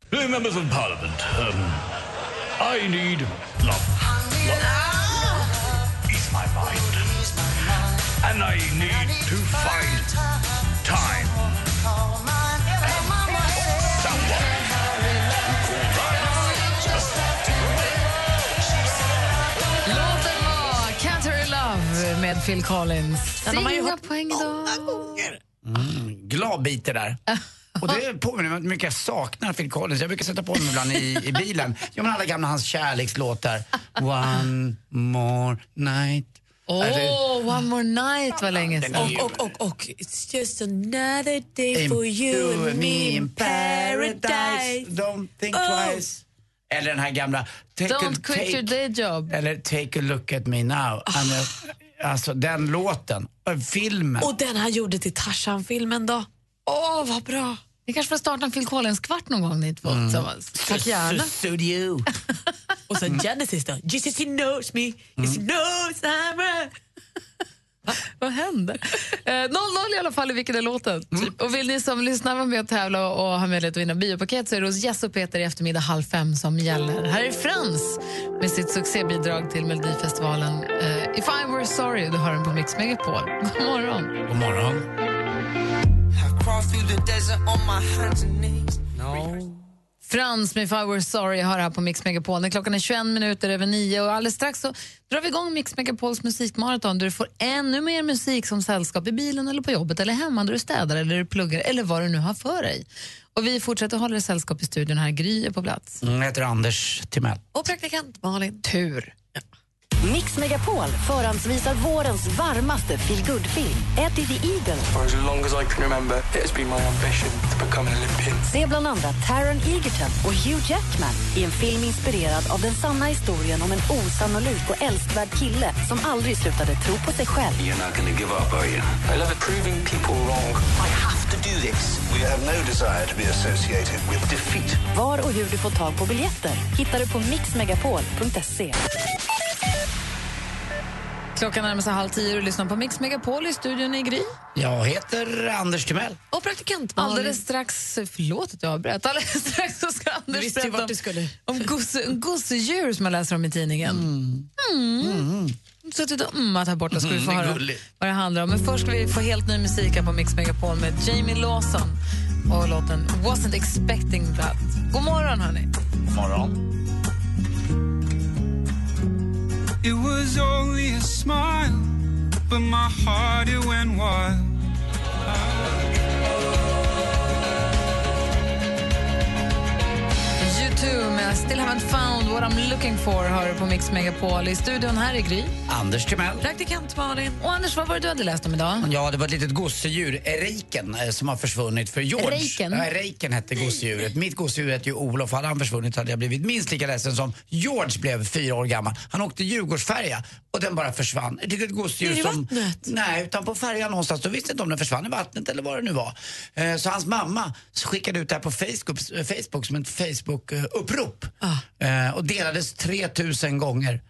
R: Dear members of parliament, um, I need love. Love. Ease my mind. And I need to find time. Someone to call my-
D: Låten var Can't Hurry Love med Phil Collins.
F: Den har man ju hört
D: poäng idag.
C: Mm, glad bit det där. Och det påminner mig om hur mycket jag saknar Phil Collins. Jag brukar sätta på honom ibland i, i bilen. Ja, men alla gamla hans kärlekslåtar. One more night.
D: Åh,
C: Alltså,
D: One More Night var länge
C: Den
D: sedan.
C: är ju- Och-
D: och,
F: It's just another day
C: In
F: for you and me in paradise.
C: paradise. Don't think
F: Oh.
C: twice. Eller den här gamla... Take a,
D: Don't quit
C: take,
D: your day job.
C: eller Take a look at me
F: Ah.
C: now. Alltså, Alltså den låten, och filmen.
F: Och den han gjorde till Tarzan-filmen då. Åh, vad bra!
D: Ni kanske får starta en Phil Collins-kvart någon gång ni två
C: Mm.
D: tillsammans. Tack gärna.
C: Studio.
F: Och
C: Mm.
F: sen Genesis då. Jesus he knows me, yes he knows I'm a...
D: Vad händer? Eh, 0-0 i alla fall i vilken är låten. Och vill ni som lyssnar vara med och tävla och och ha möjlighet att vinna biopaket så är det hos Jess och Peter i eftermiddag halv fem som gäller. Här är Frans med sitt succébidrag till Melodifestivalen eh, If I Were Sorry. Du hör den på Mix Megapol. God morgon.
C: God morgon.
S: Crawl through the desert on my hands and knees. No.
D: Frans med If I Were Sorry hör här på Mix Megapol. När klockan är 21 minuter över nio och alldeles strax så drar vi igång Mix Megapols musikmaraton där du får ännu mer musik som sällskap i bilen eller på jobbet eller hemma där du städar eller du pluggar eller vad du nu har för dig. Och vi fortsätter hålla dig sällskap i studion här. Gry är på plats.
C: Mm, Jag heter Anders Timell.
F: Och praktikant Malin.
D: Tur.
A: Mix Megapol förhandsvisar vårens varmaste feelgood-film, Eddie the Eagle.
T: For as long as I can remember, it has been my ambition to become an Olympian.
A: Se bland andra Taron Egerton och Hugh Jackman i en film inspirerad av den sanna historien om en osannolik och älskvärd kille som aldrig slutade tro på sig själv.
U: You're not going to give up, are you?
T: I love proving people wrong. I have to do this.
U: We have no desire to be associated with defeat.
A: Var och hur du får tag på biljetter hittar du på mixmegapol.se.
D: Klockan närmar sig halv tio och du lyssnar på Mix Megapol i studion i Gry.
C: Jag heter Anders Timell.
D: Och praktikant Alldeles strax, förlåt att jag avbröt, alldeles strax så ska Anders
F: visste ju
D: berätta
F: vart
D: om,
F: du skulle.
D: om gosse, gosedjur som man läser om i tidningen. Mm. Suttit och mm, att här borta ska vi få
F: Mm, det är
D: höra
F: gulligt.
D: vad det handlar om. Men först ska vi få helt ny musik här på Mix Megapol med Jamie Lawson och låten Wasn't expecting that. God morgon hörni.
T: God morgon. It was only a smile, but my heart it went wild.
D: U2 med Still haven't found what I'm looking for hör du på Mix Megapol. I studion här är Gry.
C: Anders Timell.
D: Praktikant Malin. Och Anders, vad var det du hade läst om idag?
C: Ja, det var ett litet gosedjur, eriken, eh, som har försvunnit för George.
D: Eriken?
C: Ja, eriken hette gosedjuret. Mitt gosedjur hette ju Olof. Hade han försvunnit hade jag blivit minst lika ledsen som George blev fyra år gammal. Han åkte Djurgårdsfärja och den bara försvann. Ett litet gosedjur
F: Ner i
C: som... Nej, utan på färjan någonstans. Då visste inte om den försvann i vattnet eller vad det nu var. Eh, Så hans mamma skickade ut det här på Facebook, eh, Facebook som ett Facebook-upprop.
F: Ah.
C: Och delades 3000 gånger.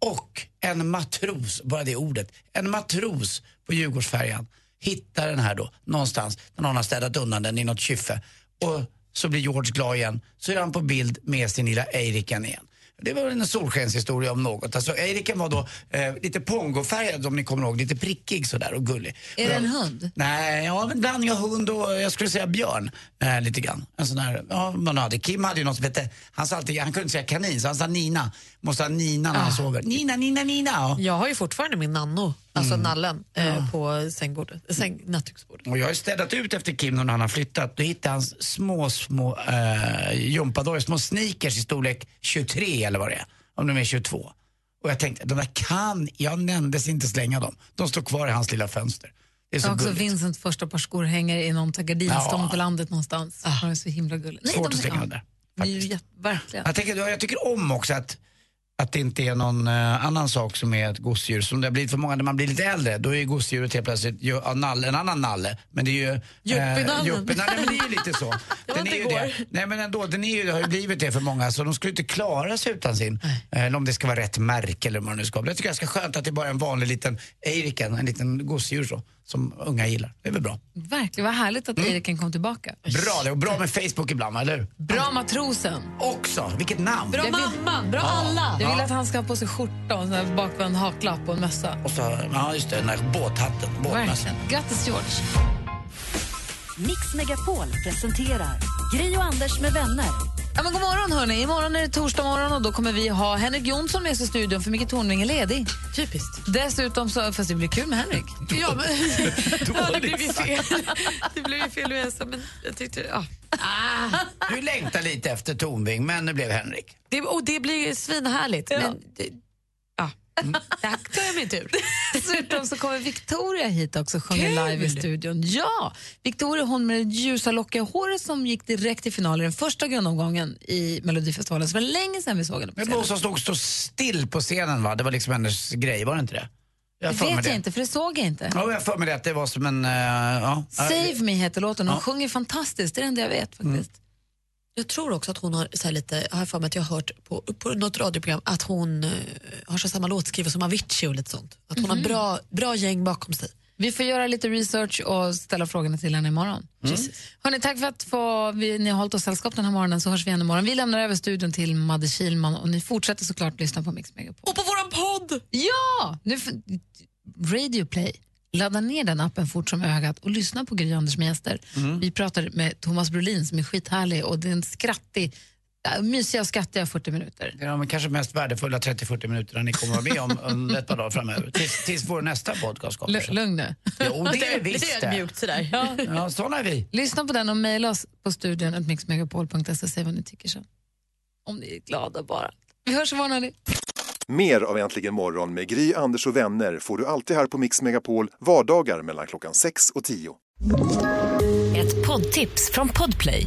C: Och en matros, bara det ordet, en matros på Djurgårdsfärjan hittar den här då någonstans när någon har städat undan den i något kyffe. Och så blir George glad igen, så är han på bild med sin lilla Eirikan igen. Det var en solskenshistoria om något. Alltså Eirikan var då eh, lite pongofärgad om ni kommer ihåg, lite prickig sådär och gullig.
D: Är det en hund?
C: Nej, ja, men blandning av hund och jag skulle säga björn. Eh, lite grann. En sån här, ja, man hade. Kim hade ju något som hette, han, sa alltid, han kunde inte säga kanin så han sa Nina. Måste ha Nina
D: Ah.
C: när han sover. Nina, Nina, Nina. Ja.
F: Jag har ju fortfarande min nanno, alltså
D: Mm.
F: nallen, eh, på sängbordet, säng, nattduksbordet.
C: Och jag har ju städat ut efter Kim när han har flyttat. Då hittade han små, små eh, gympadojor, små sneakers i storlek 23 eller vad det är. Om de är 22. Och jag tänkte, de där kan, jag nämndes inte slänga dem. De står kvar i hans lilla fönster. Det är
D: Jag
C: så
D: har också
C: gulligt.
D: Vincents första par skor hänger i någon gardinstång på landet någonstans. Ah. Det är så himla gulligt.
C: Svårt att slänga dem där.
D: Det är ju jätte- verkligen.
C: Jag, tänker, jag tycker om också att, att det inte är någon eh, annan sak som är ett gosedjur. Som det har blivit för många när man blir lite äldre, då är ju gosedjuret helt plötsligt ju, ja, nalle, en annan nalle. Men det är ju... eh,
F: Juppinallen.
C: Juppinallen, men det är ju lite så. den är ju det.
F: igår.
C: Nej men ändå, den är ju, det har ju blivit det för många så de skulle inte klara sig utan sin. Eh, Eller om det ska vara rätt märke eller vad det nu ska vara. Jag tycker det är ganska skönt att det bara är en vanlig liten eiriken, en liten gosedjur så. som unga gillar. Det är väl bra.
D: Verkligen, vad härligt
F: Mm.
D: att Eiriken kom tillbaka.
C: Bra det, och bra med Facebook ibland, va, eller hur?
D: Bra matrosen.
C: Också, vilket namn!
D: Jag vill-
C: Ja.
D: Jag vill
C: Ja.
D: att han ska ha på sig skjorta och en sån här bakvänd haklapp och en mössa.
C: Och så, ja just det, den där båthatten. Båtmössan.
D: Verkligen. Grattis George.
A: Mix Megapol presenterar Gri och Anders med vänner.
D: Ja, men god morgon hörni. Imorgon är det torsdag morgon och då kommer vi ha Henrik Jonsson med oss i studion för Micke Tornving är ledig. Typiskt. Dessutom så, fast det blir kul med Henrik.
F: Ja, men, ja, det blev ju fel. Det blev ju fel med men jag tyckte... Ja.
C: Du längtar lite efter Tornving, men nu blev Henrik.
F: Det, och det blir ju svinhärligt. Men det, ja. Där Mm. tar jag min tur.
D: Dessutom så kommer Victoria hit också och sjunger
F: Kul!
D: live i studion. Ja! Victoria hon med det ljusa lockiga håret som gick direkt till final i den första grundomgången i Melodifestivalen. Så det var länge sedan vi såg henne på
C: Men
D: scenen.
C: hon som stod så still på scenen va? Det var liksom hennes grej, var det inte det? Jag har
D: Det
C: för mig
D: vet
C: det.
D: jag inte, för det såg jag inte.
C: Ja, jag har för mig det att det var som en... eh, ja. eh,
D: Save Me heter låten.
C: Ja.
D: Hon
C: Mm.
D: sjunger fantastiskt, det är det enda jag vet faktiskt.
F: Jag tror också att hon har så här lite, jag har för mig att jag har hört på, på något radioprogram att hon eh, har så samma låtskrivare som Avicii och lite sånt. Att hon har
D: Mhm.
F: bra, bra gäng bakom sig.
D: Vi får göra lite research och ställa frågorna till henne imorgon.
F: Mm.
D: Precis. Hörrni, tack för att få, vi, ni har hållit oss sällskap den här morgonen så hörs vi igen imorgon. Vi lämnar över studion till Madde Kihlman och ni fortsätter såklart lyssna på Mix Megapol.
F: Och på våran podd!
D: Ja! Nu, f- Radio Play. Ladda ner den appen fort som ögat och lyssna på Gry Anders med gäster.
F: Mm.
D: Vi pratar med Thomas Brolin som är skithärlig och det är en skrattig, ja, mysiga och skrattiga 40 minuter.
C: Det är de kanske mest värdefulla 30-40 minuterna ni kommer att vara med om om ett par dagar framöver. Tills, tills vår nästa podcast kommer.
D: L- lugn nu.
C: Jo, det är visst det.
F: sådär.
D: Ja.
C: Ja, sådana är vi.
D: Lyssna på den och mejla oss på studion at mixmegapol.se. Säg vad ni tycker sen. Om ni är glada bara. Vi hörs imorgon hörni.
Q: Mer av Äntligen morgon med Gry, Anders och vänner får du alltid här på Mix Megapol vardagar mellan klockan 6 och 10.
E: Ett poddtips från Podplay.